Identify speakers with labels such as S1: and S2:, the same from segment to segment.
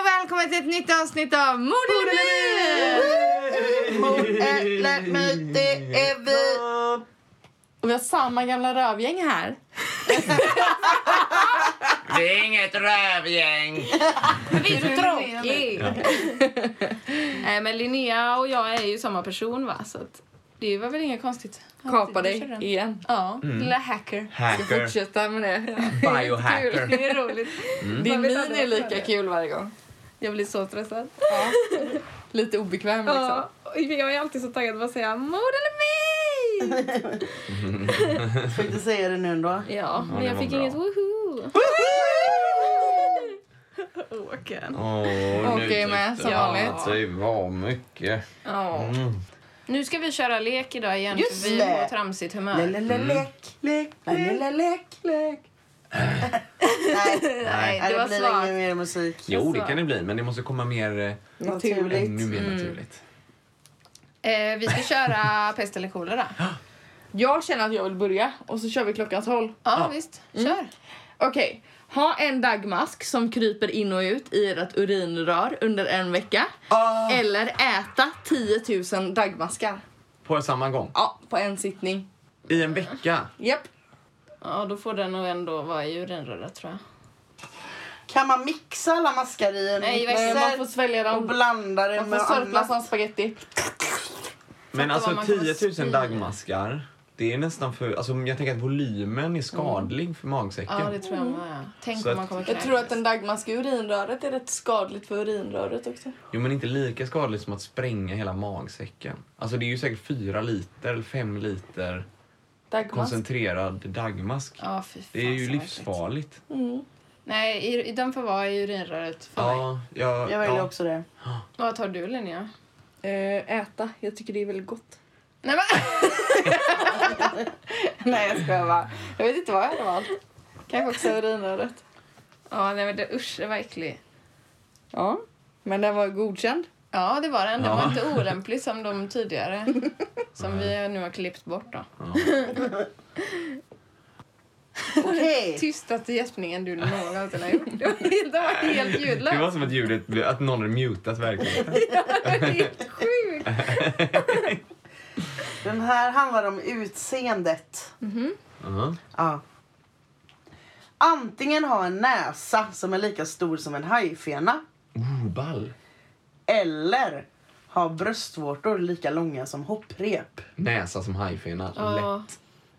S1: och välkommen till ett nytt avsnitt av Mord eller myt! Mord eller myt, det är vi! Och vi har samma gamla rövgäng här.
S2: Det är inget rövgäng.
S1: Vi är så tråkiga! Nej men Linnea och jag är ju samma person va, så att det var väl inget konstigt.
S3: Kapa
S1: Du kör
S3: dig
S1: den.
S3: igen.
S1: Ja,
S2: Mm.
S1: lilla hacker.
S2: Hacker.
S3: Fortsätta med det.
S2: Biohacker.
S1: Det är roligt.
S3: Din
S1: Man vet
S3: min
S1: aldrig
S3: är
S1: vad
S3: lika kul varje gång.
S1: Jag blir så stressad.
S3: Lite obekväm liksom.
S1: Ja, och jag är alltid så taggad på att säga mord eller myt!
S4: Fick du säga det nu ändå?
S1: Ja, men
S2: det
S1: jag
S2: var
S1: fick
S2: bra.
S1: inget woho! Åken.
S2: Åh,
S3: Okej, men som vanligt.
S2: Det var mycket.
S1: Ja.
S2: Mm.
S1: Nu ska vi köra lek idag igen
S4: Just
S1: för vi
S4: det.
S1: är på tramsigt humör.
S4: Le, le, le, Lek, lek, le, le, lek, lek. Nej,
S1: Nej,
S4: Nej,
S1: det var
S4: blir ingen
S1: svagt.
S4: mer musik.
S2: Jo, Mm. det kan det bli, men det måste komma mer... eh, Ännu
S4: Naturligt.
S2: mer naturligt.
S1: Eh, vi ska köra pest eller kolera. Ja,
S3: Jag känner att jag vill börja och så kör vi klockans håll.
S1: visst. Kör.
S3: Okej. Ha en dagmask som kryper in och ut i ert urinrör under en vecka.
S1: Ah.
S3: Eller äta 10 000 dagmaskar.
S2: På samma gång.
S3: Ja, på en sittning.
S2: I en vecka.
S3: Japp.
S1: Ja, då får den nog ändå vara i urinröret tror jag.
S4: Kan man mixa alla maskar i en
S1: Nej,
S4: mixer
S1: verkligen.
S3: Man får svälja
S4: och
S3: dem.
S4: blanda det
S3: Man får
S4: med
S3: sörpla som
S4: annat?
S3: spagetti.
S2: Men
S1: vad
S2: alltså
S1: man
S2: 10
S1: kommer
S2: 000
S1: spy.
S2: dagmaskar. Det är nästan för... Alltså, jag tänker att volymen är skadlig för magsäcken.
S1: Ja, det tror jag med. Tänk
S2: Så
S1: om man
S2: att-
S1: kommer
S3: Jag
S1: kräkas.
S3: tror att en dagmask i urinröret är rätt skadligt för urinröret också.
S2: Jo, men inte lika skadligt som att spränga hela magsäcken. Alltså, det är ju säkert 4 liter eller 5 liter
S3: Dagmask.
S2: koncentrerad dagmask.
S1: Ja, fy fan,
S2: Det är ju
S1: så äckligt.
S2: livsfarligt.
S1: Nej, i, i- den får vara i urinröret för mig.
S2: Ja, jag,
S4: Jag väljer också det.
S1: Vad tar du Linnea?
S3: Eh, äta. Jag tycker det är väldigt gott.
S1: Nej, men,
S3: Nej jag skojar bara. Jag vet inte vad jag hade valt. Kanske också urinröret.
S1: ja, nej, men det, usch, det var äcklig.
S3: Ja. Men den var godkänd.
S1: Ja, det var den. Den
S2: Ja.
S1: var inte olämplig som de tidigare. Som vi nu har klippt bort då.
S4: Okej.
S1: Tystaste gäspningen du någonsin har gjort. Det var helt, det var helt ljudlöst.
S2: Det var som att ljudet, blev- att någon hade mutat verkligen.
S1: Det var helt sjukt.
S4: Den här handlar om utseendet.
S2: Ja.
S4: Ja. Antingen ha en näsa som är lika stor som en hajfena
S2: Oh, ball.
S4: eller ha bröstvårtor lika långa som hopprep.
S2: Näsa som hajfena.
S1: Ja.
S2: Lätt.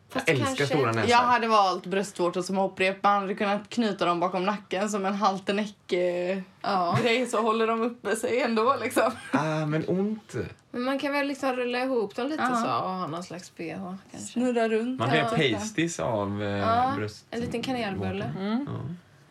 S1: Fast
S2: Jag älskar stora näsor.
S3: Jag hade valt bröstvårtor som hopprep. Man hade kunnat knyta dem bakom nacken som en halterneck-grej.
S1: Ja,
S3: Så håller de uppe sig ändå liksom.
S2: Ah, men ont.
S1: men man kan väl liksom rulla ihop dem lite
S3: Ja.
S1: så och ha någon slags bh kanske.
S3: Snurra runt.
S2: Man blir pasties av eh,
S1: Ja, Mm.
S2: bröst. Mm.
S1: en liten kanelbulle.
S2: Ja.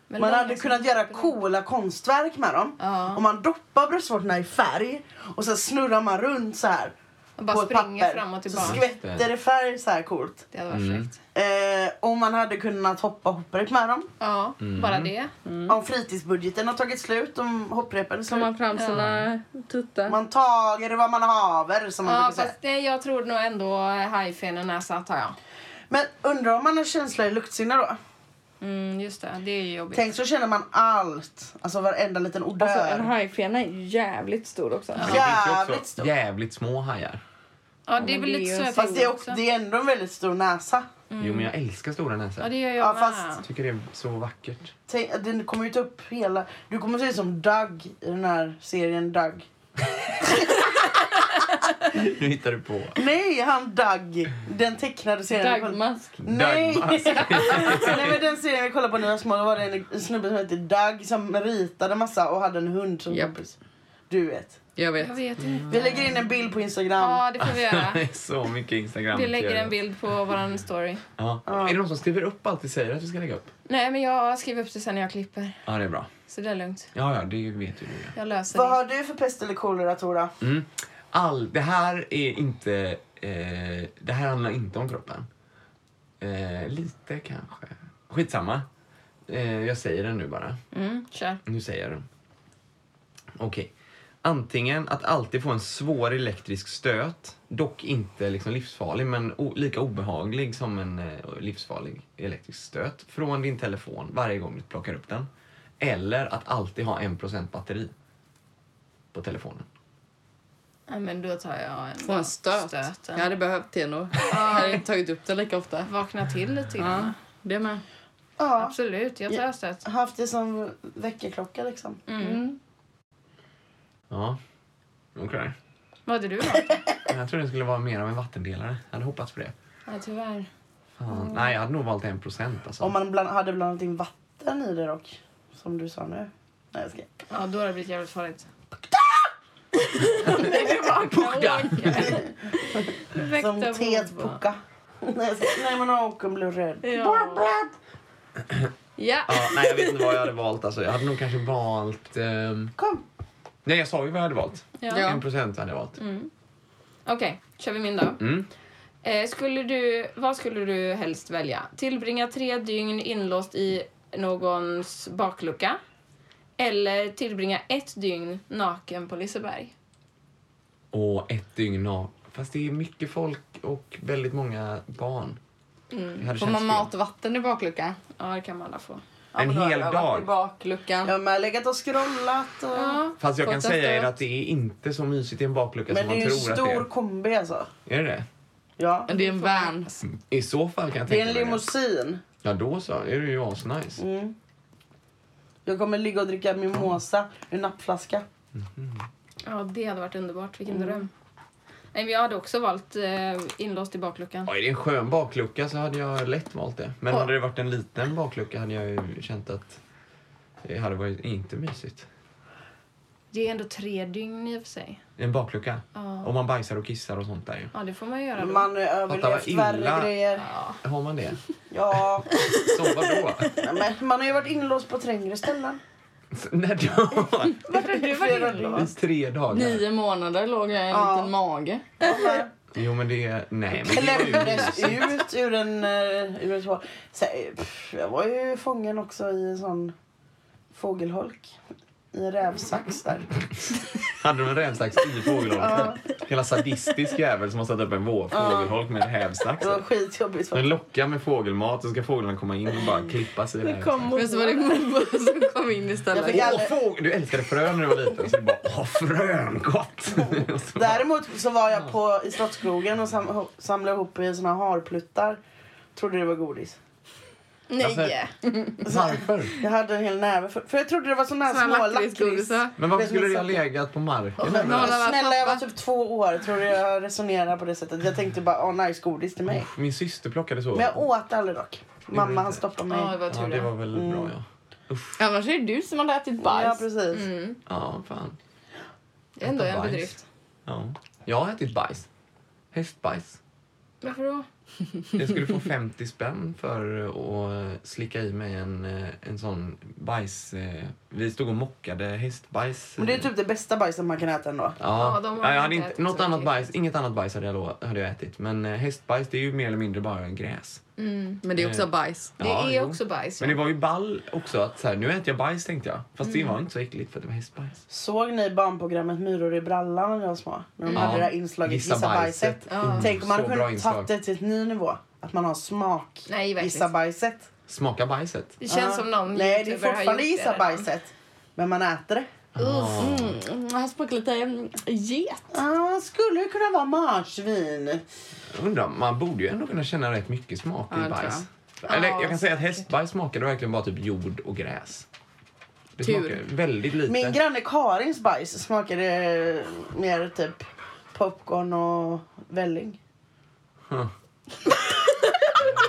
S1: Men
S4: Man
S1: långa
S4: hade
S1: som-
S4: kunnat göra coola konstverk med dem.
S1: Ja.
S4: Om man doppar bröstvårtorna i färg och sen snurrar man runt så här.
S1: Och bara
S4: på ett
S1: springa
S4: papper.
S1: fram och
S4: Så
S1: tillbaka.
S4: skvätter det färg så här coolt.
S1: Det hade varit fräckt.
S4: Eh, och man hade kunnat hoppa hopprep med dem.
S1: Ja,
S3: Mm.
S1: bara det.
S4: Mm. Om fritidsbudgeten har tagit slut, om hopprepen
S3: Tar
S4: är slut.
S3: man fram sina tuttar.
S4: Man tager vad man haver som man
S1: Ja,
S4: brukar säga.
S1: fast det, jag tror nog ändå hajfenen näsa tar jag.
S4: Men undrar om man har känsla i luktsinne då?
S1: Mm, just det, det är ju jobbigt.
S4: Tänk så känner man allt. Alltså varenda liten odör.
S3: Alltså en hajfena är jävligt stor också.
S2: Men Det finns ju
S4: Jävligt
S2: också
S4: stor.
S2: jävligt små hajar.
S1: Ja, det är
S3: men
S1: väl
S3: det
S1: lite
S3: är
S1: så
S3: ju-
S1: jag
S4: Fast det
S1: tänker
S4: är, också, det är ändå en väldigt stor näsa.
S2: Jo, men jag älskar stora näsor.
S1: Mm. Ja, det
S2: Jag
S1: gör jag
S4: Ja,
S1: med.
S4: fast-
S2: tycker det är så vackert.
S4: Tänk, den kommer ju ta upp hela... Du kommer se ut som Doug i den här serien Doug.
S2: Nu hittar du på.
S4: Nej, han Doug. Den tecknade serien.
S3: Dagmask.
S4: Nej.
S2: Dagmask.
S4: Nej men den serien vi kollade på när vi var små då var det en snubbe som hette Doug som ritade massa och hade en hund som
S3: Japp.
S4: kompis. Du vet.
S3: Jag
S1: Jag
S3: vet.
S1: vet inte.
S4: Vi lägger in en bild på Instagram.
S1: Ja, det får vi göra.
S2: Det är så mycket instagram
S1: Vi lägger en bild på vår story.
S2: Ja. Är det någon som skriver upp allt vi säger att vi ska lägga upp?
S1: Nej, men jag skriver upp det sen när jag klipper.
S2: Ja, det är bra.
S1: Så det är lugnt.
S2: Ja, ja, det vet ju du. ja.
S1: Jag löser
S4: Vad
S1: det.
S4: har du för pest eller kolera, Tora?
S2: Mm. All, det här är inte... Eh, det här handlar inte om kroppen. Eh, lite kanske. Skitsamma. Eh, jag säger den nu bara.
S1: Mm, kör.
S2: Nu säger jag den. Okej. Antingen att alltid få en svår elektrisk stöt, dock inte liksom livsfarlig men o- lika obehaglig som en eh, livsfarlig elektrisk stöt, från din telefon varje gång du plockar upp den. Eller att alltid ha 1% batteri på telefonen.
S1: Ja, men då tar jag en,
S3: Få en stöt. Jag hade behövt det nog. Jag hade inte tagit upp det lika ofta.
S1: Vakna till lite grann.
S3: Ja, det med.
S4: Ja.
S1: Absolut, jag tar
S4: Ja.
S1: stöt.
S4: Haft det som väckarklocka liksom.
S1: Mm.
S2: Ja, okej.
S1: Vad hade du då?
S2: Jag tror det skulle vara mer av en vattendelare. Jag hade hoppats på det.
S1: ja, tyvärr.
S2: Fan. Nej, jag hade nog valt 1% alltså.
S4: Om man bland, hade blandat in vatten i det dock. Som du sa nu. Nej, jag ska.
S1: Ja, då har det blivit jävligt farligt.
S2: Pukta!
S4: Som
S1: Väkta
S4: teet
S1: Bobo.
S4: pucka. Nej, jag ska. Nej, men åken blev röd.
S1: Ja. ja.
S2: Ja, nej, jag vet inte vad jag hade valt. Alltså. Jag hade nog kanske valt... ehm,
S4: Kom.
S2: Nej, jag sa ju vad jag hade valt.
S1: ja.
S2: En procent hade jag valt.
S4: Mm.
S1: Okej, kör vi min då.
S2: Mm.
S1: Eh, skulle du, vad skulle du helst välja? Tillbringa tre dygn inlåst i någons baklucka? Eller tillbringa ett dygn naken på Liseberg?
S2: Och ett dygn av... Fast det är mycket folk och väldigt många barn.
S4: Mm.
S2: Det hade
S3: Får man
S2: känts fel.
S3: mat och vatten i bakluckan?
S1: Ja, det kan man alla få.
S2: En
S3: men då har
S2: hel
S3: jag varit
S2: dag.
S3: I bakluckan.
S4: Jag har med legat och scrollat. Och...
S1: Ja.
S2: Fast jag kan
S3: Fått en
S2: säga er
S3: stöt.
S2: att det är inte så mysigt i en baklucka
S4: Men
S2: som
S4: det
S2: man
S4: är ju en
S2: tror att det
S4: stor
S2: är.
S4: kombi alltså.
S2: Är det det?
S4: Ja.
S3: Men det är en van.
S2: I så fall kan jag
S4: Det är
S2: tänka
S4: en
S2: mig det.
S4: limousin.
S2: Ja, då så. Är det ju asnice.
S4: Mm. Jag kommer ligga och dricka mimosa ur nappflaska.
S1: Ja, det hade varit underbart. Vilken dröm. Nej, men jag hade också valt eh, inlåst i bakluckan.
S2: Ja, är det en skön baklucka så hade jag lätt valt det. Men
S1: Ja.
S2: hade det varit en liten baklucka hade jag ju känt att det hade varit inte mysigt.
S1: Det är ändå tre dygn i och för sig.
S2: En baklucka.
S1: Ja.
S2: Om man bajsar och kissar och sånt där ju.
S1: Ja, det får man ju göra då.
S4: Man har ju överlevt
S2: Fattar vad illa.
S4: värre grejer.
S1: Ja.
S2: Har man det?
S4: Ja.
S2: Så vadå?
S4: Nej, men man har ju varit inlåst på trängre ställen.
S2: S- När då?
S1: Vart har du
S4: Flera
S1: varit inlåst?
S2: I
S4: dagar.
S2: tre dagar?
S3: Nio månader låg jag i en
S4: Ja.
S3: liten mage.
S2: Jo men det... Nej men det är ju
S4: Klämdes
S2: mysigt.
S4: ut ur en... eh, Ur ett hål. Så, eh, pff, jag var ju fången också i en sån fågelholk. I en rävsax där.
S2: Hade de en rävsax i fågelholken? Hela sadistisk jävel som har satt upp en vå- fågelholk med en hävsax.
S4: Det var
S2: Den
S4: skitjobbigt. faktiskt.
S2: lockar med fågelmat så ska fåglarna komma in och bara klippa sig i rävsaxen.
S3: Men så var det mormor som kom in
S4: Jag
S3: istället.
S4: fick
S2: Åh, fåg- Du älskade frön när du var liten så du bara åh frön, gott! Och så bara,
S4: Däremot så var jag på, i Slottskrogen och sam, samlade ihop i såna harpluttar. Trodde det var godis.
S1: Nej!
S2: Varför?
S4: Jag hade en hel näve. För, för jag trodde det var såna här
S3: Såna
S4: små
S3: lakritsgodis.
S4: lakrits.
S3: va?
S2: Men varför
S4: Vet
S2: skulle
S4: ni
S2: det ha
S4: så-
S2: legat på marken?
S4: Men
S3: Några var
S4: Snälla, jag var
S3: pappa.
S4: typ två år. Tror du jag resonerar på det sättet? Jag tänkte bara, åh, nice godis till mig.
S2: Min syster plockade så.
S4: Men jag åt aldrig dock.
S2: Gjorde
S4: Mamma
S2: du
S4: han
S2: inte?
S4: stoppade mig.
S1: Ja, det var
S2: Ja,
S1: tur
S2: det
S1: det.
S2: var väl
S4: Mm.
S2: bra ja.
S3: Annars är det du som hade ätit
S4: Ja,
S3: bajs. Mm.
S4: precis.
S2: Ja, fan.
S1: Det är ändå en
S2: Bajs.
S1: bedrift.
S2: Ja. Jag har ätit bajs. Hästbajs.
S1: Varför då?
S2: Jag skulle få 50 spänn för att slicka i mig en, eh, en sån bajs... eh, Vi stod och mockade hästbajs.
S4: Men det är typ det bästa bajset man kan äta ändå.
S2: Ja,
S1: Ja, de har
S2: ja,
S1: inte
S2: jag
S1: ätit
S2: hade inte,
S1: så
S2: något
S1: mycket
S2: annat bajs,
S1: häst.
S2: inget annat bajs hade jag, lo- hade jag ätit. Men eh, hästbajs det är ju mer eller mindre bara en gräs.
S3: Men det är
S2: Mm.
S3: också bajs.
S1: Det
S2: Ja,
S1: är
S2: jo.
S1: också bajs.
S2: Men
S1: ja.
S2: det var ju ball också att så här, nu äter jag bajs tänkte jag. Fast
S1: Mm.
S2: det var inte så äckligt för att det var hästbajs.
S4: Såg ni barnprogrammet Myror i brallan när jag var små? När de
S2: Ja.
S4: hade det där inslaget Gissa, bajset.
S2: Oh,
S4: Tänk om man
S2: så bra
S4: kunde
S2: inslag.
S4: tagit det till ett ny nivå. Att man har smak.
S1: Nej, verkligen.
S4: Gissa bajset.
S2: Smaka bajset.
S1: Det känns som någon
S4: Nej, det är
S1: youtuber har
S4: fortfarande
S1: gjort det
S4: gissa
S1: redan.
S4: bajset. Men man äter det.
S3: Mm, jag har smakat lite mm, get.
S4: Ah, skulle ju kunna vara marsvin.
S2: Undrar, man borde ju ändå kunna känna rätt mycket smak
S3: det
S2: i
S3: tror
S2: bajs. Eller jag kan säga att hästbajs smakade verkligen bara typ jord och gräs. Det
S3: Tur.
S2: smakade väldigt lite.
S4: Min granne Karins bajs smakade mer typ popcorn och välling.
S2: Det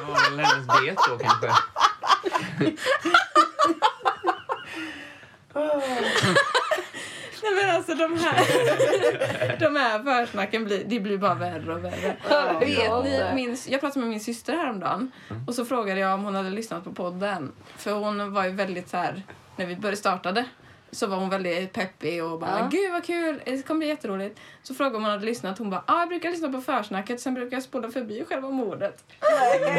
S2: var väl hennes bet då kanske.
S1: Nej men alltså de här, de här försnacken blir, det blir bara värre och värre. Vet ni, min, jag pratade med min
S2: Mm.
S1: syster häromdagen och så frågade jag om hon hade lyssnat på podden. För hon var ju väldigt så här när vi började startade så var hon väldigt peppig och bara
S4: Ja.
S1: gud vad kul, det kommer bli jätteroligt. Så frågade hon om hon hade lyssnat. Hon bara ah, jag brukar lyssna på försnacket sen brukar jag spola förbi själva mordet.
S2: Men,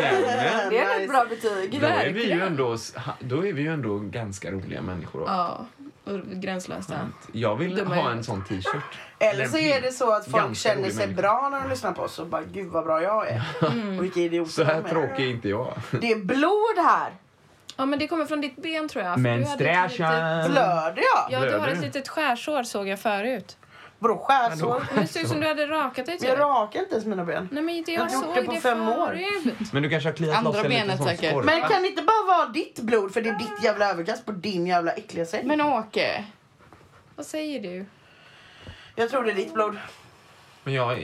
S3: Det är ett
S4: Nice.
S3: bra betyg.
S2: då, är vi ju
S1: Verkligen.
S2: ändå, s- ha- då är vi ju ändå ganska roliga människor. då.
S1: Ja, och gränslösa.
S2: Jag vill
S1: De är-
S2: ha en sån t-shirt.
S4: Eller så är det så att folk
S2: Ganska
S4: känner
S2: rolig
S4: sig
S2: människa.
S4: bra när de lyssnar på oss och bara gud vad bra jag är.
S1: Mm.
S4: Och vilka idioter
S2: Så här
S4: de är.
S2: tråkig Mm. är inte jag.
S4: Det är blod här.
S1: Ja men det kommer från ditt ben tror jag. för
S2: Men
S1: du hade ett litet-
S4: Blöder jag?
S1: Ja du har
S2: Blöder
S1: ett
S2: du?
S1: litet skärsår såg jag förut.
S4: Vadå skärsår?
S1: Men det ser ut som du hade rakat dig
S4: Men Jag
S1: typ.
S4: rakar inte ens mina ben.
S1: Nej men inte
S4: Jag har
S1: jag
S4: gjort
S1: såg
S4: det på
S1: det
S4: fem år.
S1: förut.
S2: Men du kanske har kliat
S3: Andra
S2: loss en liten
S3: benet
S2: sån
S3: säkert.
S2: skorpa.
S4: Men kan det inte bara vara ditt blod för det är ditt jävla överkast på din jävla äckliga säng?
S3: Men Åke,
S1: Vad säger du?
S4: Jag tror det är ditt blod.
S2: Men jag...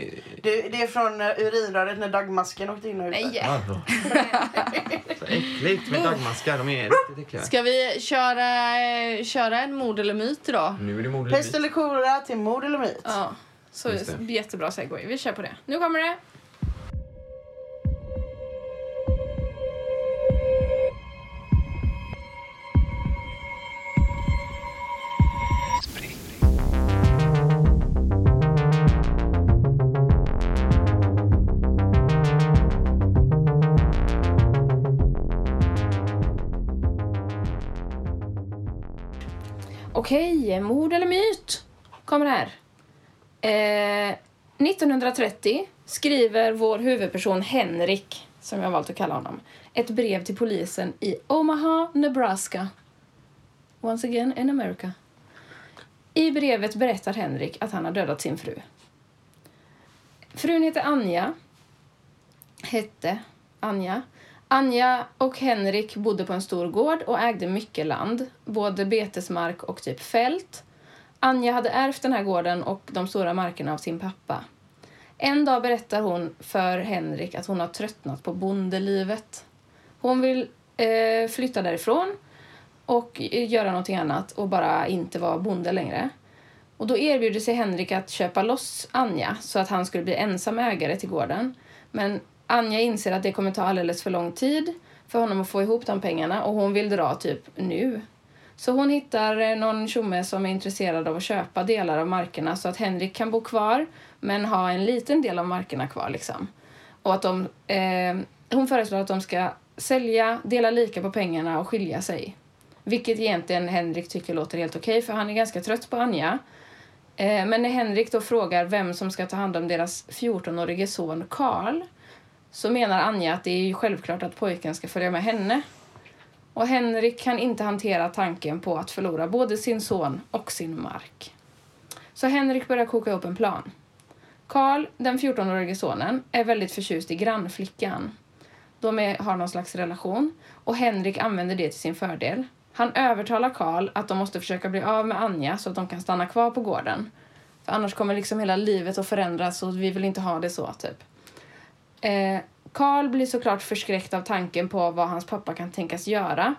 S4: Det, det är från eh, urinröret när dagmasken åkte in och ut.
S1: Nej!
S2: Vadå? Så äckligt med dagmaskar. De är riktigt äckliga.
S3: ska vi köra, eh, köra en mod eller myt idag?
S2: Nu är det modeligt.
S4: Pest eller kolera till mord eller myt.
S1: Ja, så
S2: Just det.
S1: jättebra segway. Vi kör på det. Nu kommer det. Okej, mord eller myt? Kommer här. Eh, 1930 skriver vår huvudperson Henrik, som jag valt att kalla honom, ett brev till polisen i Omaha, Nebraska. Once again in America. I brevet berättar Henrik att han har dödat sin fru. Frun heter Anja. Hette Anja. Anja och Henrik bodde på en stor gård och ägde mycket land, både betesmark och typ fält. Anja hade ärvt den här gården och de stora markerna av sin pappa. En dag berättar hon för Henrik att hon har tröttnat på bondelivet. Hon vill eh, flytta därifrån och eh, göra någonting annat och bara inte vara bonde längre. Och då erbjuder sig Henrik att köpa loss Anja så att han skulle bli ensam ägare till gården. Men Anja inser att det kommer ta alldeles för lång tid för honom att få ihop de pengarna och hon vill dra typ nu. Så hon hittar eh, någon tjomme som är intresserad av att köpa delar av markerna så att Henrik kan bo kvar men ha en liten del av markerna kvar liksom. Och att de, eh, hon föreslår att de ska sälja, dela lika på pengarna och skilja sig. Vilket egentligen Henrik tycker låter helt okej för han är ganska trött på Anja. Eh, men när Henrik då frågar vem som ska ta hand om deras 14-årige son Karl så menar Anja att det är ju självklart att pojken ska följa med henne. Och Henrik kan inte hantera tanken på att förlora både sin son och sin mark. Så Henrik börjar koka upp en plan. Karl, den 14-årige sonen, är väldigt förtjust i grannflickan. De är, har någon slags relation och Henrik använder det till sin fördel. Han övertalar Karl att de måste försöka bli av med Anja så att de kan stanna kvar på gården. För annars kommer liksom hela livet att förändras och vi vill inte ha det så, typ. Eh, Karl blir såklart förskräckt av tanken på vad hans pappa kan tänkas göra.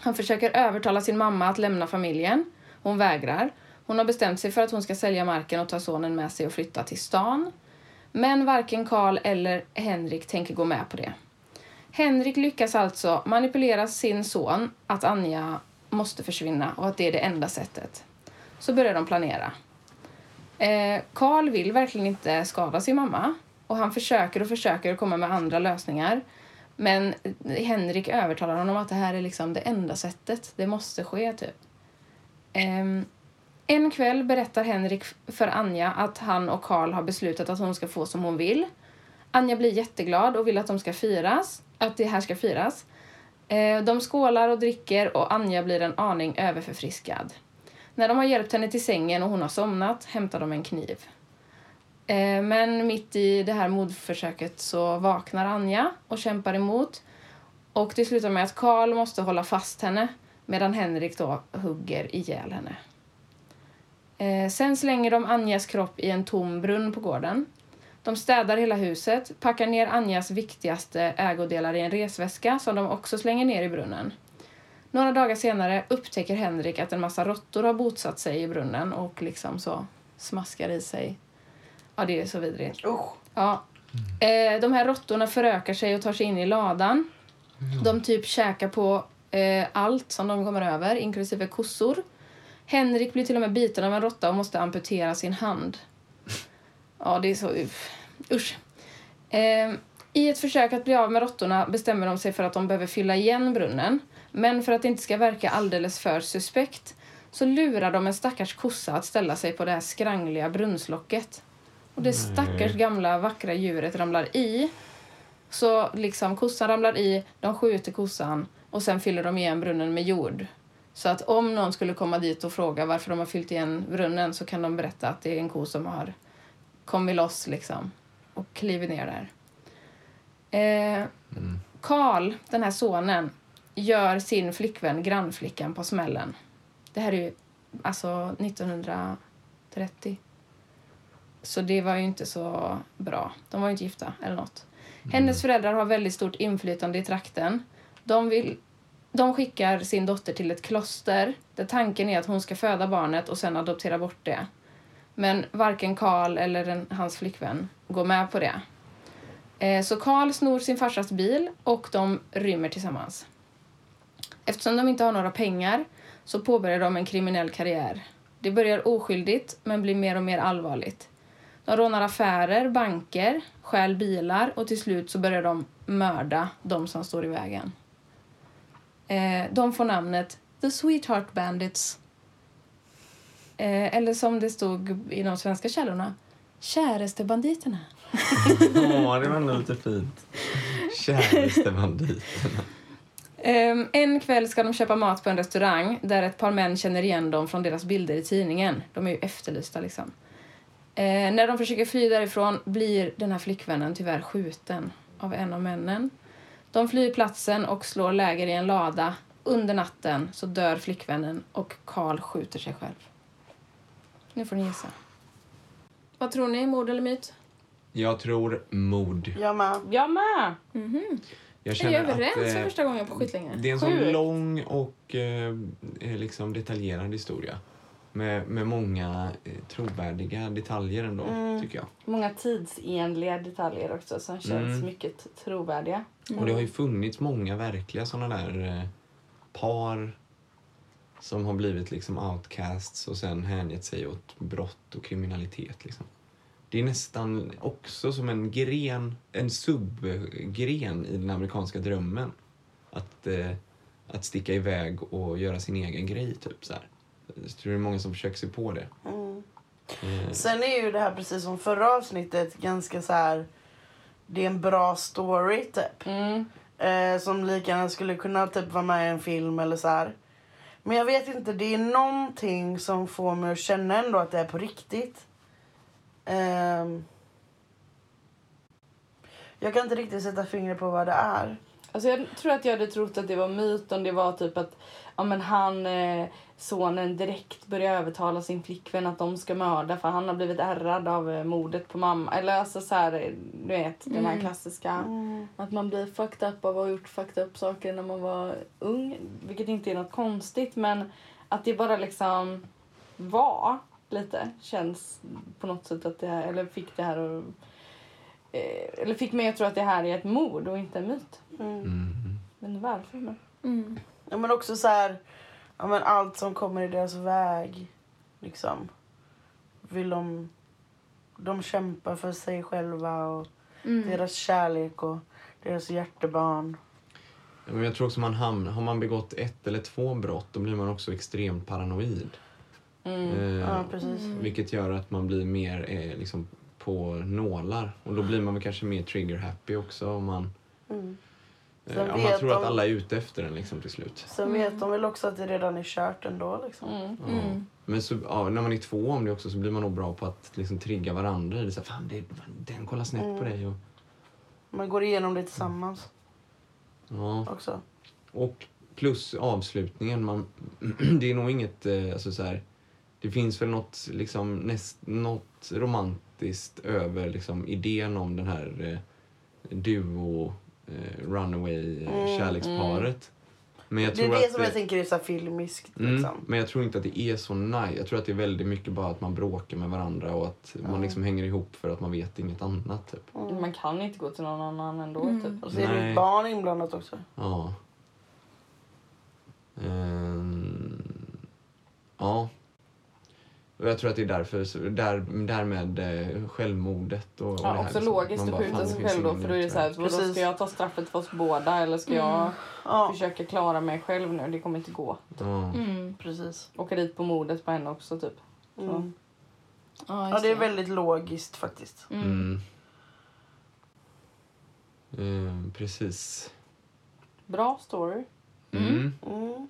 S1: Han försöker övertala sin mamma att lämna familjen. Hon vägrar. Hon har bestämt sig för att hon ska sälja marken och ta sonen med sig och flytta till stan. Men varken Karl eller Henrik tänker gå med på det. Henrik lyckas alltså manipulera sin son att Anja måste försvinna och att det är det enda sättet. Så börjar de planera. Eh, Karl vill verkligen inte skada sin mamma och han försöker och försöker komma med andra lösningar. Men Henrik övertalar honom att det här är liksom det enda sättet. Det måste ske, typ. Ehm, en kväll berättar Henrik f- för Anja att han och Karl har beslutat att hon ska få som hon vill. Anja blir jätteglad och vill att de ska firas, att det här ska firas. Eh, De skålar och dricker och Anja blir en aning överförfriskad. När de har hjälpt henne till sängen och hon har somnat hämtar de en kniv. Eh, Men mitt i det här mordförsöket så vaknar Anja och kämpar emot. Och det slutar med att Karl måste hålla fast henne medan Henrik då hugger ihjäl henne. Eh, Sen slänger de Anjas kropp i en tom brunn på gården. De städar hela huset, packar ner Anjas viktigaste ägodelar i en resväska som de också slänger ner i brunnen. Några dagar senare upptäcker Henrik att en massa råttor har bosatt sig i brunnen och liksom så smaskar i sig. Ja, det är så vidrigt.
S4: Usch.
S1: Ja. Eh, de här råttorna förökar sig och tar sig in i ladan. De typ käkar på eh, allt som de kommer över, inklusive kossor. Henrik blir till och med biten av en råtta och måste amputera sin hand. Ja, det är så... uff. Usch. Eh, I ett försök att bli av med råttorna bestämmer de sig för att de behöver fylla igen brunnen. Men för att det inte ska verka alldeles för suspekt så lurar de en stackars kossa att ställa sig på det här skrangliga brunnslocket. Och det stackars gamla vackra djuret ramlar i. Så liksom kossan ramlar i, de skjuter kossan och sen fyller de igen brunnen med jord. Så att om någon skulle komma dit och fråga varför de har fyllt igen brunnen så kan de berätta att det är en ko som har kommit loss liksom och klivit ner där. Eh, Karl, den här sonen, gör sin flickvän grannflickan på smällen. Det här är ju alltså 1930. Så det var ju inte så bra. De var ju inte gifta eller något. Hennes föräldrar har väldigt stort inflytande i trakten. De, vill, de skickar sin dotter till ett kloster där tanken är att hon ska föda barnet och sen adoptera bort det. Men varken Karl eller den, hans flickvän går med på det. Eh, Så Karl snor sin farsas bil och de rymmer tillsammans. Eftersom de inte har några pengar så påbörjar de en kriminell karriär. Det börjar oskyldigt men blir mer och mer allvarligt. De rånar affärer, banker, stjäl bilar och till slut så börjar de mörda de som står i vägen. Eh, de får namnet The Sweetheart Bandits. Eh, eller som det stod i de svenska källorna, Kärestebanditerna.
S2: Ja, det var ändå lite fint. Käraste banditerna.
S1: Ehm, en kväll ska de köpa mat på en restaurang där ett par män känner igen dem från deras bilder i tidningen. De är ju efterlysta liksom. Ehm, när de försöker fly därifrån blir den här flickvännen tyvärr skjuten av en av männen. De flyr platsen och slår läger i en lada. Under natten så dör flickvännen och Karl skjuter sig själv. Nu får ni gissa. Vad tror ni? Mord eller myt?
S2: Jag tror mod.
S4: Jag med.
S3: Jag med.
S2: Jag
S1: Jag är
S2: känner att
S1: överens för
S2: eh,
S1: första gången på skitlänge.
S2: det är en sån
S3: Sjukt.
S2: lång och eh, liksom detaljerad historia. Med, med många eh, trovärdiga detaljer ändå,
S4: Mm.
S2: tycker jag.
S3: Många tidsenliga detaljer också som känns
S2: Mm.
S3: mycket trovärdiga.
S2: Och det har ju funnits många verkliga sådana där eh, par som har blivit liksom outcasts och sen hängett sig åt brott och kriminalitet. Liksom. Det är nästan också som en gren, en subgren i den amerikanska drömmen. Att, eh, att sticka iväg och göra sin egen grej, typ så här. Jag tror det är många som försöker sig på det.
S4: Mm.
S2: Eh,
S4: Sen är ju det här precis som förra avsnittet ganska så här. Det är en bra story typ.
S1: Mm.
S4: Eh, som lika gärna skulle kunna typ vara med i en film eller så här. Men jag vet inte, det är någonting som får mig att känna ändå att det är på riktigt. Ehm. jag kan inte riktigt sätta fingret på vad det är.
S3: Alltså jag tror att jag hade trott att det var myt om det var typ att ja, men han, eh, sonen direkt börjar övertala sin flickvän att de ska mörda för han har blivit ärrad av eh, mordet på mamma. Eller alltså så här, eh, du vet den här klassiska. Att man blir fucked up av att ha gjort fucked up saker när man var ung. Vilket inte är något konstigt men att det bara liksom var lite känns på något sätt att det här, eller fick det här att eh, eller fick mig att tro att det här är ett mord och inte en myt.
S2: Mm.
S3: Men varför? Men...
S1: Mm.
S4: Ja, men också så här, ja, men allt som kommer i deras väg. Liksom. Vill de, de kämpar för sig själva och deras kärlek och deras hjärtebarn.
S2: Ja, Men jag tror också man hamn, har man begått ett eller två brott då blir man också extremt paranoid.
S3: Mm.
S2: Eh,
S4: Ja, precis.
S2: Vilket gör att man blir mer eh, liksom, på nålar. Och då blir man väl kanske mer trigger-happy också om man,
S4: Mm. Sen
S2: eh, om man
S4: vet
S2: tror att
S4: de-
S2: alla är ute efter en liksom, till slut.
S4: Sen vet de väl också att det redan är kört ändå. Liksom.
S3: Mm.
S2: Ja. Men så, ja, när man är två om det också så blir man nog bra på att liksom, trigga varandra. Det är så här, Fan, det, den kollar snett på
S4: Mm.
S2: dig. Och,
S4: Man går igenom det tillsammans
S2: ja.
S4: också.
S2: Och plus avslutningen. Man, det är nog inget... eh, Alltså så här, det finns väl något, liksom, näst, något romantiskt över liksom, idén om den här eh, duo eh, runaway eh,
S4: Mm,
S2: kärleksparet. Men jag
S4: Det är
S2: tror
S4: det
S2: att
S4: som jag
S2: det,
S4: tänker är så här filmiskt.
S2: mm,
S4: Liksom.
S2: men jag tror inte att det är så nice. Jag tror att det är väldigt mycket bara att man bråkar med varandra och att man liksom hänger ihop för att man vet inget annat. Typ.
S3: Man kan
S1: Mm.
S3: inte gå till någon annan ändå. Typ.
S4: Och så är det
S2: Nej.
S4: ett barn inblandat också.
S2: Ja. Ehm, ja. Och jag tror att det är därför, så där, därmed eh, självmordet och, och det
S3: Ja,
S2: här
S3: också
S2: liksom. Man
S3: logiskt att
S2: bara, fan,
S3: skjuta
S2: det
S3: sig
S2: finns
S3: själv då
S2: ingen
S3: för då är det
S2: utväg.
S3: så här, vadå,
S4: Precis.
S3: ska jag ta straffet för oss båda eller ska jag
S4: Ja,
S3: försöka klara mig själv nu? Det kommer inte gå.
S2: Ja.
S1: Mm.
S4: precis.
S3: Åka dit på mordet på henne också typ.
S4: Mm.
S3: Så.
S1: Ja,
S4: Ja,
S1: just
S4: det är väldigt logiskt faktiskt.
S1: Mm.
S2: Mm. Ehm, precis.
S3: Bra story.
S2: Mm.
S4: Mm.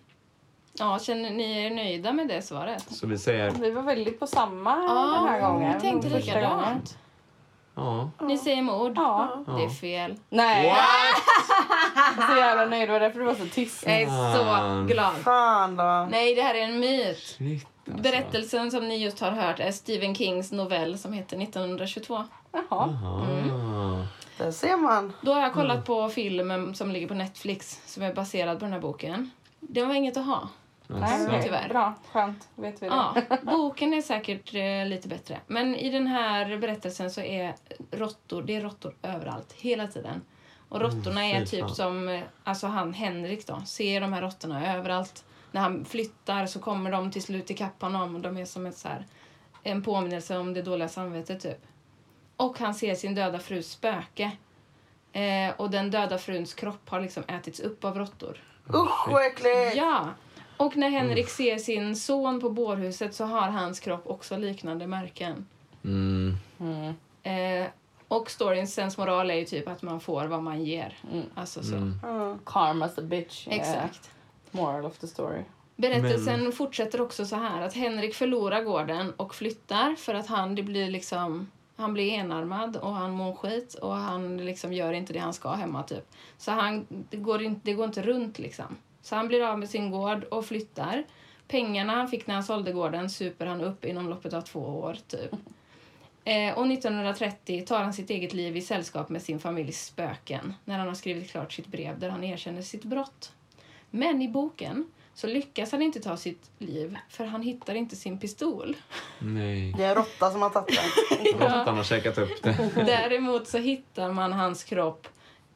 S1: Ja, känner ni er nöjda med det svaret?
S2: Så vi säger,
S3: Vi var väldigt på samma
S1: Ja,
S3: den
S2: Mm.
S3: här gången.
S1: jag tänkte
S3: Första gången.
S1: likadant.
S2: ja.
S1: Ni säger mord.
S3: Ja.
S2: ja.
S1: Det är fel.
S3: Nej,
S2: What?
S3: jag är så jävla nöjd. Det var därför du var så tyst.
S1: Jag är så
S2: Fan.
S1: glad.
S4: Fan då.
S1: Nej, det här är en myt.
S2: Shit, alltså.
S1: Berättelsen som ni just har hört är Stephen Kings novell som heter 1922.
S3: Jaha.
S1: Mm.
S2: Aha.
S3: Mm.
S4: Där ser man.
S1: Då har jag
S2: Mm.
S1: kollat på filmen som ligger på Netflix som är baserad på den här boken. Det var inget att ha.
S3: Nej,
S2: Alltså.
S3: okej.
S1: Tyvärr.
S3: Bra, skönt. vet vi det.
S1: Ja, boken är säkert eh, lite bättre. Men i den här berättelsen så är råttor, det är råttor överallt, hela tiden. Och råttorna
S2: Mm,
S1: är
S2: fy
S1: typ
S2: fan.
S1: som, eh, alltså han Henrik då, ser de här råttorna överallt. När han flyttar så kommer de till slut ikapp honom och de är som ett så här, en påminnelse om det dåliga samvetet typ. Och han ser sin döda frus spöke. Eh, och den döda fruns kropp har liksom ätits upp av råttor.
S4: Usch vad äckligt.
S1: Ja. Och när Henrik ser sin son på bårhuset så har hans kropp också liknande märken.
S2: Mm.
S3: Mm.
S1: Eh, och storyns sensmoral är ju typ att man får vad man ger.
S3: Mm.
S1: Alltså så.
S2: Mm.
S4: Mm.
S3: Karma's a bitch. eh,
S1: Exakt.
S3: Moral of the story.
S1: Berättelsen fortsätter också så här att Henrik förlorar gården och flyttar för att han det blir liksom han blir enarmad och han mår skit och han liksom gör inte det han ska hemma typ. Så han, det, går inte, det går inte runt liksom. Så han blir av med sin gård och flyttar. Pengarna han fick när han sålde gården super han upp inom loppet av två år typ. Eh, och 1930 tar han sitt eget liv i sällskap med sin familjs spöken när han har skrivit klart sitt brev där han erkänner sitt brott. Men i boken så lyckas han inte ta sitt liv för han hittar inte sin pistol.
S2: Nej.
S4: Det är en råtta som har tagit den.
S2: Råttan har käkat upp det.
S1: Däremot så hittar man hans kropp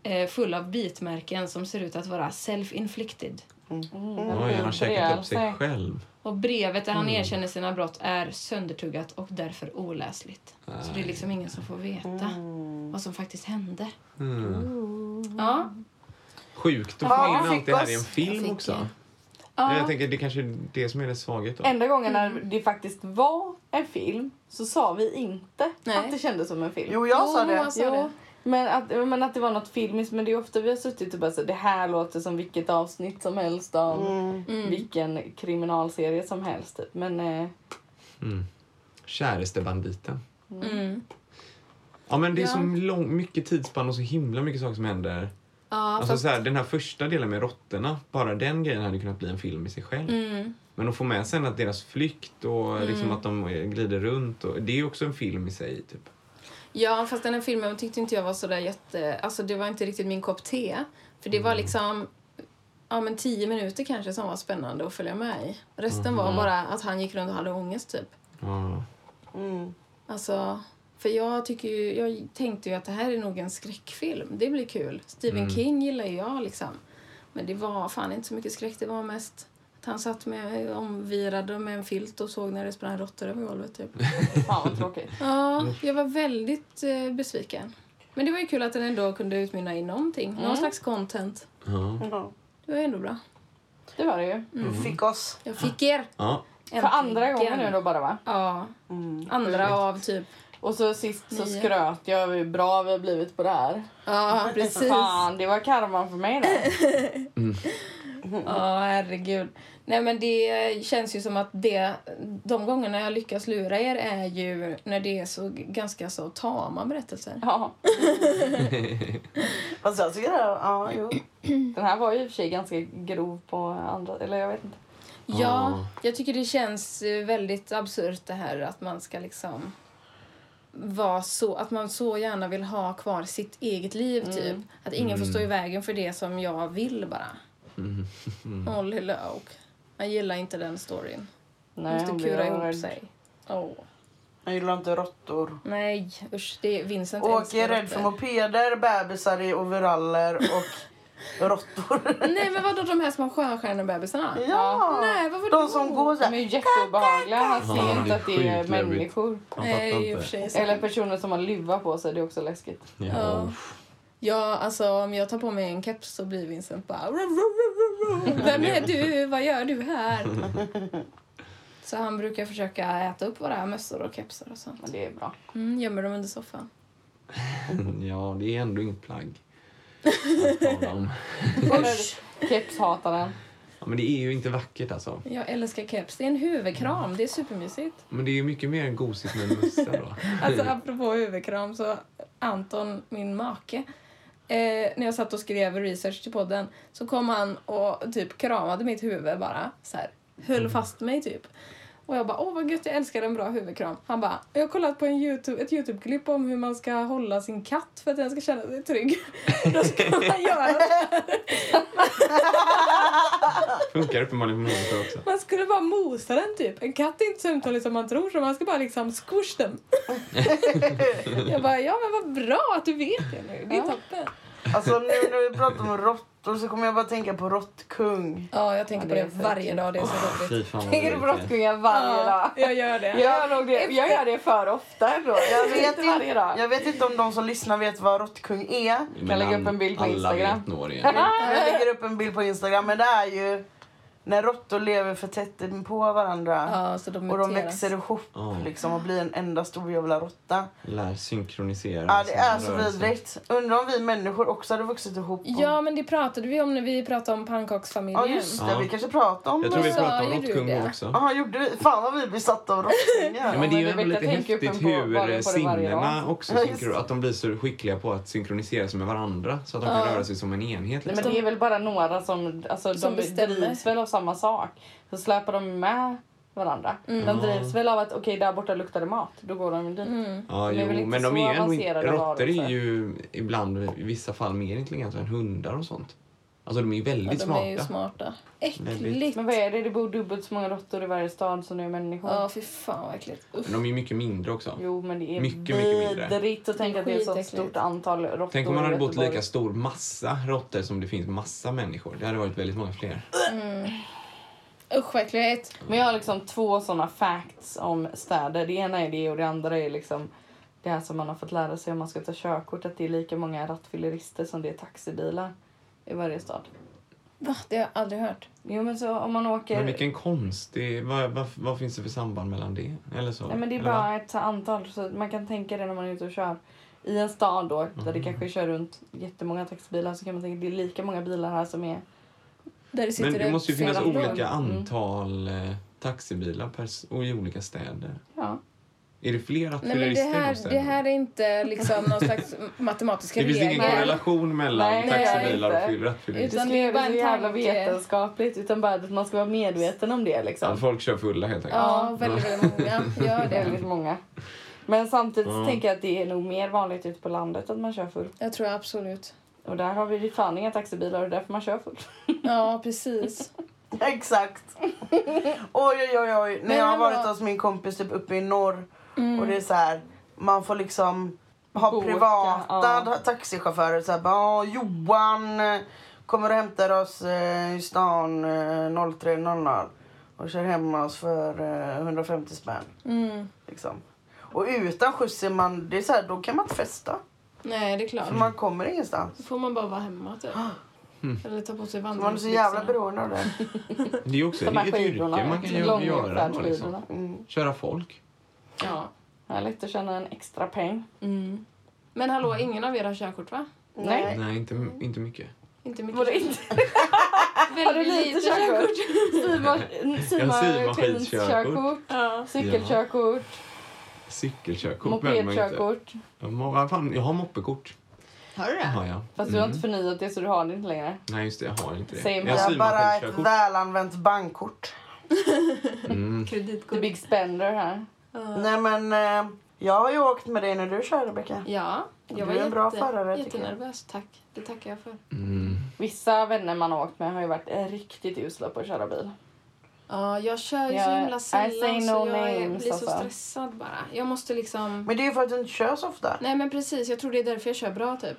S1: eh, full av bitmärken som ser ut att vara self-inflicted.
S2: Oj, han har käkat upp sig själv.
S1: Och brevet där han erkänner sina brott är söndertuggat och därför oläsligt. Så det är liksom ingen som får veta vad som faktiskt hände.
S2: Mm.
S1: Ja.
S2: Sjukt att
S4: Ja,
S2: få in
S4: jag fick
S2: allt det här i en
S4: oss-
S1: jag
S2: film
S1: fick
S2: också.
S1: en.
S2: Jag
S1: ja.
S2: tänker det kanske är det som är det svaghet då.
S3: Enda gången när
S1: Mm.
S3: det faktiskt var en film så sa vi inte
S1: Nej.
S3: att det kändes som en film.
S4: Jo, jag sa
S1: Jo,
S4: det.
S3: alltså.
S1: jag sa det.
S3: Men att, men att det var något filmiskt. Men det är ofta vi har suttit och bara så det här låter som vilket avsnitt som helst om
S4: Mm.
S1: Mm.
S3: vilken kriminalserie som helst. Typ. Men eh,
S2: Mm. Käraste banditen.
S1: Mm.
S2: Ja men det är
S1: Ja.
S2: så lång, mycket tidsspann och så himla mycket saker som händer.
S1: Ja,
S2: Alltså
S1: fast...
S2: så här, den här första delen med råttorna, bara den grejen hade kunnat bli en film i sig själv.
S1: Mm.
S2: Men att få med sen att deras flykt och liksom att de glider runt, och, det är ju också en film i sig. Typ.
S1: Ja, fast den här filmen tyckte inte jag var så där jätte... Alltså det var inte riktigt min kopp te. För det var liksom ja, men tio minuter kanske som var spännande att följa med i. Resten var bara att han gick runt och hade ångest typ.
S2: Ja.
S4: Mm.
S1: Alltså, för jag, tycker ju, jag tänkte ju att det här är nog en skräckfilm. Det blir kul. Stephen King gillar ju jag liksom. Men det var fan inte så mycket skräck. Det var mest att han satt med, omvirad med en filt och såg när det sprang råttor över golvet typ.
S3: fan vad tråkigt.
S1: Ja,
S3: Mm.
S1: jag var väldigt eh, besviken. Men det var ju kul att den ändå kunde utmynna i någonting.
S3: Mm.
S1: Någon slags content.
S2: Ja.
S4: Ja.
S1: Det var ändå bra.
S3: Det var det ju.
S4: Fick oss.
S1: Jag fick er!
S2: Ja.
S3: För andra gången nu då bara va?
S1: Ja,
S4: Mm.
S1: andra av typ.
S3: Och så sist så
S1: Nio.
S3: skröt jag hur bra vi har blivit på det här.
S1: Ja, precis.
S3: Fan, det var karman för mig det.
S1: Ja, herregud. Nej, men det eh, känns ju som att det, de gångerna jag lyckas lura er är ju när det är så ganska så tama berättelser.
S3: Ja,
S4: Fast jag tycker det. Ja, jo.
S3: den här var ju i och för sig ganska grov på andra, eller jag vet inte.
S1: Ja, jag tycker det känns eh, väldigt absurt det här att man ska liksom vara så, att man så gärna vill ha kvar sitt eget liv typ. Att ingen får stå i vägen för det som jag vill bara. Molly Lööf. Jag gillar inte den storyn. Hon
S3: Nej,
S1: måste kura ihop sig. Åh.
S4: Jag gillar inte råttor.
S1: Nej, usch. Det är Vincent
S4: Åke är
S1: älskar
S4: rädd
S1: inte.
S4: för mopeder, bebisar i overaller och råttor.
S1: Nej, men vadå de här små sjöstjärnebebisarna?
S4: Ja.
S1: Nej, varför
S4: De
S1: då?
S4: som går så
S3: De är
S4: här.
S3: ju jätteobehagliga. Han ser
S2: Ja, det
S3: ju inte
S2: är
S3: att det är
S2: sjukt läbbigt.
S3: människor.
S2: Han
S1: Nej, i och för
S2: fattar
S1: sig.
S2: inte.
S1: sant.
S3: Eller personer som har luva på sig. Det är också läskigt.
S1: Ja.
S2: Ja.
S1: Ja, alltså om jag tar på mig en keps så blir Vincent bara... "Ruh, ruh, ruh, ruh, ruh. Vem är du? Vad gör du här? Så han brukar försöka äta upp våra mössor och kepsar och sånt.
S3: Men det är bra.
S1: Mm, gömmer dem under soffan.
S2: ja, det är ändå inget plagg. att tala om.
S3: Kepshataren.
S2: Ja, men det är ju inte vackert alltså.
S1: Jag älskar keps. Det är en huvudkram. Det är supermysigt.
S2: Men det är ju mycket mer än gosigt med en mössa då.
S1: Alltså apropå huvudkram så Anton, min make, eh, när jag satt och skrev research till podden så kom han och typ kramade mitt huvud bara så här, höll fast mig typ. Och jag bara, åh vad gött, jag älskar en bra huvudkram. Han bara, jag har kollat på en YouTube, ett YouTube-klipp om hur man ska hålla sin katt för att den ska känna sig trygg. Då ska man göra
S2: Funkar uppenbarligen på människor också.
S1: Man skulle bara mosa den typ. En katt är inte sömntålig som man tror så man ska bara liksom squish den. jag bara, ja men vad bra att du vet det nu. Det är
S3: Ja.
S1: toppen.
S4: Alltså nu när vi pratar om råttor så kommer jag bara tänka på råttkung.
S1: Ja, jag tänker
S3: Ja,
S1: på det
S3: det är Oh, fett.
S1: varje dag. Det är så roligt.
S2: Fy fan vad
S3: Tänker du på
S2: vidrigt det är.
S3: råttkungar varje dag?
S1: Ja, jag gör det.
S3: Jag gör, nog det. jag gör det för ofta ändå. Jag vet inte varje dag.
S4: jag vet inte om de som lyssnar vet vad råttkung är.
S2: Men
S3: Kan lägga upp
S2: an-
S3: en bild på
S2: Alla
S3: Instagram.
S2: vet Norge.
S4: Jag lägger upp en bild på Instagram. Men det är ju när råttor lever för tätt på varandra.
S1: Ja, så de
S4: Och de
S1: muteras.
S4: växer ihop
S2: Ja.
S4: liksom, och blir en enda stor jävla råtta.
S2: Lär synkronisera.
S4: Ja, det är så
S2: sina rörelser.
S4: vidrigt. Undrar om vi människor också hade vuxit ihop. och-
S1: Ja, men det pratade vi om när vi pratade om
S4: ja
S1: pannkaksfamiljen.
S4: just det.
S2: Ja.
S4: Vi kanske pratar om
S2: Jag tror vi
S1: Vad sa
S2: pratade
S1: ju
S2: om
S1: du
S2: råttkung
S1: det?
S2: också.
S4: Jaha, gjorde vi? Fan vad vi är besatta av
S2: Ja,
S4: råttkungar.
S2: men det är ju
S3: Ah, men
S2: ändå
S3: Rebecca
S2: lite
S3: tänker upp en
S2: häftigt
S3: på- bara på
S2: hur
S3: det varje
S2: sinnena
S3: dag.
S2: också
S4: Ja,
S2: synkro-
S4: just.
S2: att de blir så skickliga på att synkronisera sig med varandra så att de kan
S1: Ja.
S2: röra sig som en enhet.
S3: Nej,
S2: Liksom.
S3: men det är väl bara några som, alltså,
S1: Som
S3: de
S1: bestämmer.
S3: drivs väl av samma sak. Så släpar de med varandra.
S2: Mm.
S3: De drivs väl av att okej, där borta luktar det mat. Då går de dit.
S2: Ja,
S3: de är väl
S2: jo,
S3: inte
S2: men de
S3: så
S2: är ju ändå inte-
S3: avancerade
S2: råttor är
S3: varelser.
S2: ju ibland i vissa fall mer intelligenta än hundar och sånt. Alltså de är ju
S1: Ja,
S2: väldigt
S1: de
S2: smarta.
S1: är ju smarta. Äckligt.
S2: Väldigt.
S3: Men vad är det? Det bor dubbelt så många råttor i varje stad som det är människor.
S1: Ja, fy fan vad äckligt. Uff.
S2: Men de är ju mycket mindre också.
S3: Jo, men det är
S2: Mycket, mycket mindre.
S3: vidrigt att tänka att det är ett sånt
S1: Skitäckligt.
S3: stort antal råttor
S2: Tänk om
S3: i
S2: man hade bott
S3: Göteborg.
S2: lika stor massa råttor som det finns massa människor. Det hade varit väldigt många fler.
S1: Usch vad äckligt.
S3: Men jag har liksom två såna facts om städer. Det ena är det och det andra är liksom det här som man har fått lära sig om man ska ta körkort. Att det är lika många rattfyllerister som det är taxibilar i varje stad.
S1: Va? Det har jag aldrig hört.
S3: Jo men så om man åker...
S2: Men vilken konstig... Vad, vad, vad finns det för samband mellan det? Eller så?
S3: Nej men det är
S2: Eller vad?
S3: bara ett antal så man kan tänka det när man är ute och kör. I en stad då där
S2: Mm.
S3: det kanske kör runt jättemånga taxibilar så kan man tänka att det är lika många bilar här som är...
S1: Där sitter
S2: Men det måste ju finnas
S1: fyra
S3: sedan-
S2: olika
S3: Mm.
S2: antal eh, taxibilar per, s- och i olika städer.
S3: Ja.
S2: Är det fler
S1: Nej, men det,
S2: rattfyllerister i de
S1: här, det
S2: städerna?
S1: här är inte liksom någon slags matematiska
S2: Det finns ingen
S1: regler.
S2: korrelation mellan
S3: Nej,
S1: det gör det
S2: taxibilar och
S3: inte.
S2: fyll- rattfyllerister.
S3: Det
S1: Utan det
S3: skulle
S1: är
S3: ju
S1: bara
S3: vara så
S1: en
S3: jävla
S1: tanke.
S3: vetenskapligt utan bara att man ska vara medveten om det liksom.
S2: Ja, folk kör fulla helt enkelt.
S1: Ja, väldigt, väldigt många gör det.
S3: Väldigt många. Men samtidigt
S2: Ja.
S3: tänker jag att det är nog mer vanligt ute på landet att man kör full.
S1: Jag tror absolut.
S3: Och där har vi ju fan inga taxibilar och det är därför man kör full.
S1: Ja, precis.
S4: Exakt. Oj, oj, oj. oj. När
S1: Men
S4: jag har
S1: hallå.
S4: varit hos min kompis typ uppe i norr och det
S1: Mm.
S4: är så här, man får liksom ha
S3: Boka,
S4: privata
S3: ja.
S4: taxichaufförer. Så här, bara, "Åh, Johan eh, kommer och hämtar oss eh, i stan eh, 03.00 och kör hem oss för eh, 150 spänn.
S1: Mm.
S4: Liksom. Och utan skjuts är man, det är så här, då kan man inte festa.
S1: Nej, det är klart.
S4: För man kommer ingenstans.
S1: Då får man bara vara hemma typ. Eller ta på sig
S4: Man är så jävla
S1: vandringsbyxorna.
S4: beroende av det.
S2: Det är ju också
S3: De här
S2: ett yrke
S3: skidorna. liksom
S2: man kan göra. göra då, liksom.
S3: långfärdsskidorna.
S4: Mm.
S2: Köra folk.
S1: Ja.
S3: Härligt att tjäna en extra peng.
S1: Mm. Men hallå, ingen av er har körkort va?
S3: Nej.
S4: Nej.
S2: Nej, inte, inte mycket.
S1: Inte mycket.
S3: Var det inte? Har du
S1: Väldigt
S3: lite
S1: lite
S3: körkort?
S1: körkort.
S3: Simon-
S2: Simon
S3: Simon Thins
S2: skidkörkort.
S3: körkort,
S1: Ja.
S3: cykelkörkort,
S2: Cykelkörkort behöver man ju inte.
S3: mopedkörkort.
S2: Jag må- vad fan, Jag har moppekort.
S1: Har du
S2: Har jag.
S3: Fast du har
S2: Mhm.
S3: inte förnyat det så du har det inte längre.
S2: Nej, just det. Jag har inte det.
S3: Same
S2: jag
S4: Det är bara ett
S2: symaskinkörkort.
S4: välanvänt bankkort.
S2: Mm.
S3: The
S1: Kreditkort.
S3: big spender här.
S4: Nej men eh, jag har ju åkt med dig när du kör Rebecka.
S1: Ja, jag var
S4: Du är en bra förare, tycker jag.
S1: jättenervös. Tack. Det tackar jag för.
S2: Mm.
S3: Vissa vänner man har åkt med har ju varit eh, riktigt usla på att köra bil.
S1: Ja, jag kör ju så
S3: Jag-
S1: himla
S3: I
S1: sällan
S3: say
S1: så
S3: no
S1: jag är-
S3: names,
S1: blir så
S3: alltså.
S1: stressad bara. Jag måste liksom...
S4: Men det är ju för att du inte kör så ofta.
S1: Nej men precis, jag tror det är därför jag kör bra typ.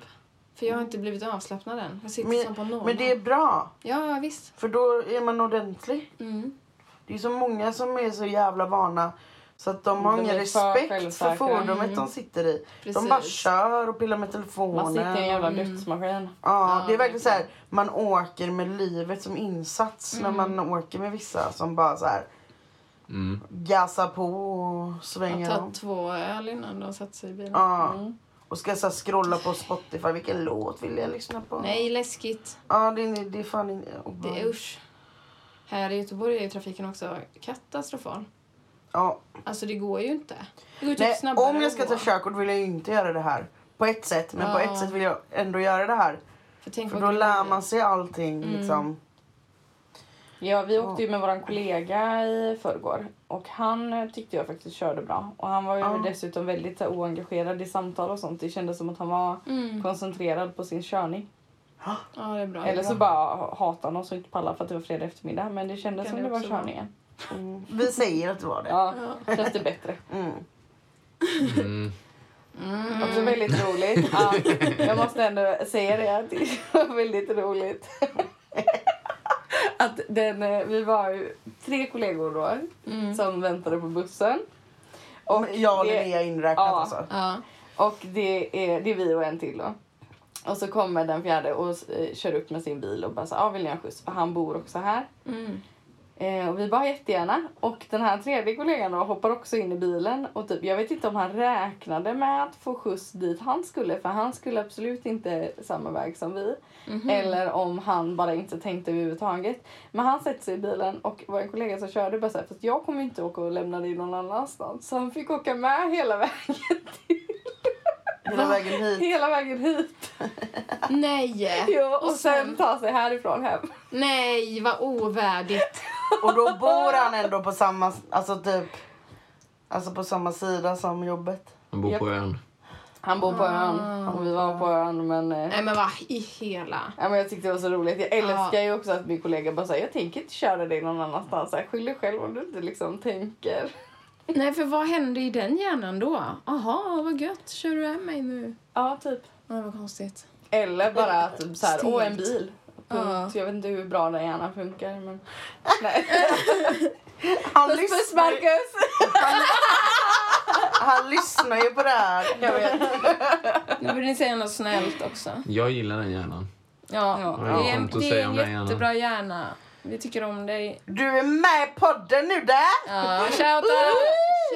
S1: För jag har inte blivit avslappnad än. Jag sitter som på
S4: Men,
S1: nålar.
S4: men det är bra,
S1: Ja, visst.
S4: för då är man ordentlig.
S1: Mm.
S4: Det är så många som är så jävla vana så att de har
S3: De
S4: ingen
S3: är för
S4: respekt för
S3: självsäkra. Mm.
S4: fordonet de sitter i.
S1: Precis.
S4: De bara kör och pillar med
S3: Man sitter i en
S4: telefonen.
S3: jävla dödsmaskin.
S4: Ja,
S1: Ja,
S4: det är verkligen så här,
S1: verkligen.
S4: man åker med livet som insats när
S3: Mm.
S4: man åker med vissa som bara så här
S2: Mm.
S4: gasar på och
S1: Jag
S4: svänger
S1: har
S4: om.
S1: tagit två öl innan de satte sig i bilen.
S4: Ja.
S3: Mm.
S4: Och ska så här scrolla på Spotify, vilken låt vill jag lyssna på?
S1: Nej, läskigt.
S4: Ja, det är, det är fan inte
S1: Det är usch. Här i Göteborg är ju trafiken också katastrofal.
S4: Ja.
S1: Alltså det går ju inte. Det går ju typ
S4: Nej,
S1: snabbare
S4: om jag
S1: att
S4: ska
S1: gå.
S4: ta körkort vill jag ju inte göra det här. På ett sätt, men
S1: Ja.
S4: på ett sätt vill jag ändå göra det här.
S1: För, tänk
S4: För
S1: vad
S4: då
S1: kul
S4: lär
S1: det Mm. blir.
S4: man sig allting liksom.
S3: Ja, vi åkte ju med vår kollega i förrgår och han eh, tyckte jag faktiskt körde bra. Och han var ju
S4: Ja.
S3: dessutom väldigt så, här, oengagerad i samtal och sånt. Det kändes som att han var
S1: Mm.
S3: koncentrerad på sin körning.
S1: Ja, det är bra.
S3: Eller så bara hatar han oss och inte pallar för att det var fredag eftermiddag. Men det kändes
S1: Kan
S3: som
S1: det
S3: det var
S1: också vara.
S3: körningen.
S4: Mm. Vi säger att det var det.
S3: Ja, känns det bättre.
S4: Mm.
S2: Mm.
S3: Också väldigt roligt. Ja, jag måste ändå säga det att det var väldigt roligt. Att den, eh, vi var ju tre kollegor då
S1: Mm.
S3: som väntade på bussen.
S4: Och jag och
S3: det-
S4: Linnea inräknat
S3: Ja.
S4: alltså.
S1: Ja.
S3: Och det är, det är vi och en till då. Och så kommer den fjärde och eh, kör upp med sin bil och bara så, ah, vill ni ha skjuts? För han bor också här.
S1: Mm.
S3: Eh, och vi bara jättegärna. Och den här tredje kollegan då hoppar också in i bilen och typ, jag vet inte om han räknade med att få skjuts dit han skulle för han skulle absolut inte samma väg som vi. Eller om han bara inte tänkte överhuvudtaget. Men han sätter sig i bilen och var en kollega som körde bara så här, fast jag kommer inte åka och lämna dig någon annanstans. Så han fick åka med hela vägen till
S4: Hela vägen hit.
S3: Hela vägen hit.
S1: Nej!
S3: Ja, och
S1: Och sen-
S3: sen ta sig härifrån hem.
S1: Nej, vad ovärdigt.
S4: Och då bor han ändå på samma, alltså typ, alltså på samma sida som jobbet.
S2: Han bor på ön.
S3: Han bor på ön och vi var på ön men... eh,
S1: Nej men vad i hela...
S3: Ja, men jag tyckte det var så roligt. Jag älskar ju också att min kollega bara säger jag tänker inte köra dig någon annanstans. Så här, Skyll dig själv om du inte liksom tänker.
S1: Nej för vad hände i den hjärnan då? Aha, vad gött. Kör du hem mig nu?
S3: Ja, typ.
S1: Nej, vad konstigt.
S3: Eller bara typ så här,
S1: Stelt.
S3: åh en bil. Punkt.
S1: Ja.
S3: Jag vet inte hur bra den hjärnan funkar men... Nej.
S4: Han
S3: Puss
S4: lyssnar, ju-
S3: Marcus!
S4: han lyssnar ju på det här.
S3: Jag vet.
S1: Nu vill ni säga något snällt också.
S2: Jag gillar den hjärnan.
S1: Ja,
S3: Ja.
S1: det är en,
S2: Skönt att
S1: det är
S2: säga
S1: en
S2: om den hjärnan.
S1: jättebra hjärna. Vi tycker om dig.
S4: Du är med i podden nu där!
S1: Ja, shoutout!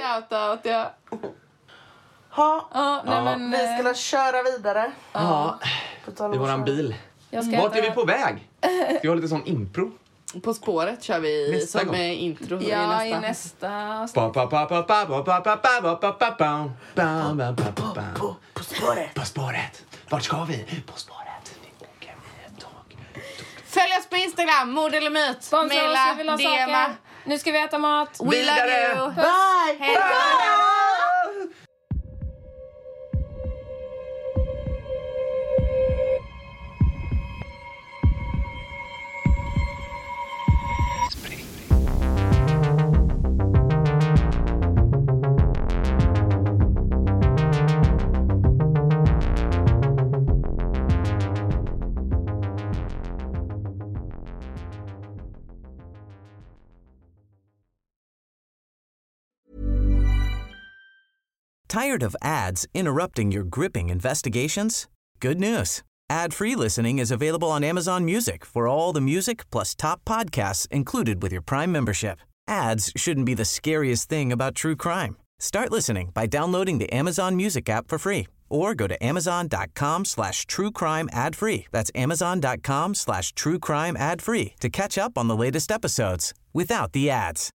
S1: Shoutout, ja.
S4: Ha,
S1: Ja, nej
S2: Ja.
S1: men...
S4: vi
S1: eh,
S4: skulle köra vidare.
S2: Ja,
S4: På tal om
S2: det är
S4: att
S2: våran
S4: köra.
S2: bil.
S1: Jag ska
S2: Vart är
S1: äta-
S2: vi på väg? Ska vi ha lite sån impro?
S3: På spåret kör vi
S2: Nästa
S3: som
S2: gång.
S3: eh, intro
S1: Ja,
S3: i
S1: i
S3: nästa.
S1: nästa...
S2: Pa, pa, pa, pa, pa, pa, pa, pa, pa, pa, pa, pa, pa. Pa, pa, pa, pa, pa.
S4: På, på spåret.
S2: På spåret. Vart ska vi? På spåret. Vi åker med ett tåg.
S3: Följ oss på Instagram, mord eller myt.
S1: Sponsra oss, vi vill ha saker. Nu ska vi äta mat.
S2: We Vidare. love you.
S4: Bye! Hej
S5: Tired of ads interrupting your gripping investigations? Good news. Ad-free listening is available on Amazon Music for all the music plus top podcasts included with your Prime membership. Ads shouldn't be the scariest thing about true crime. Start listening by downloading the Amazon Music app for free or go to amazon.com slash true crime ad free. That's amazon.com slash true crime ad free to catch up on the latest episodes without the ads.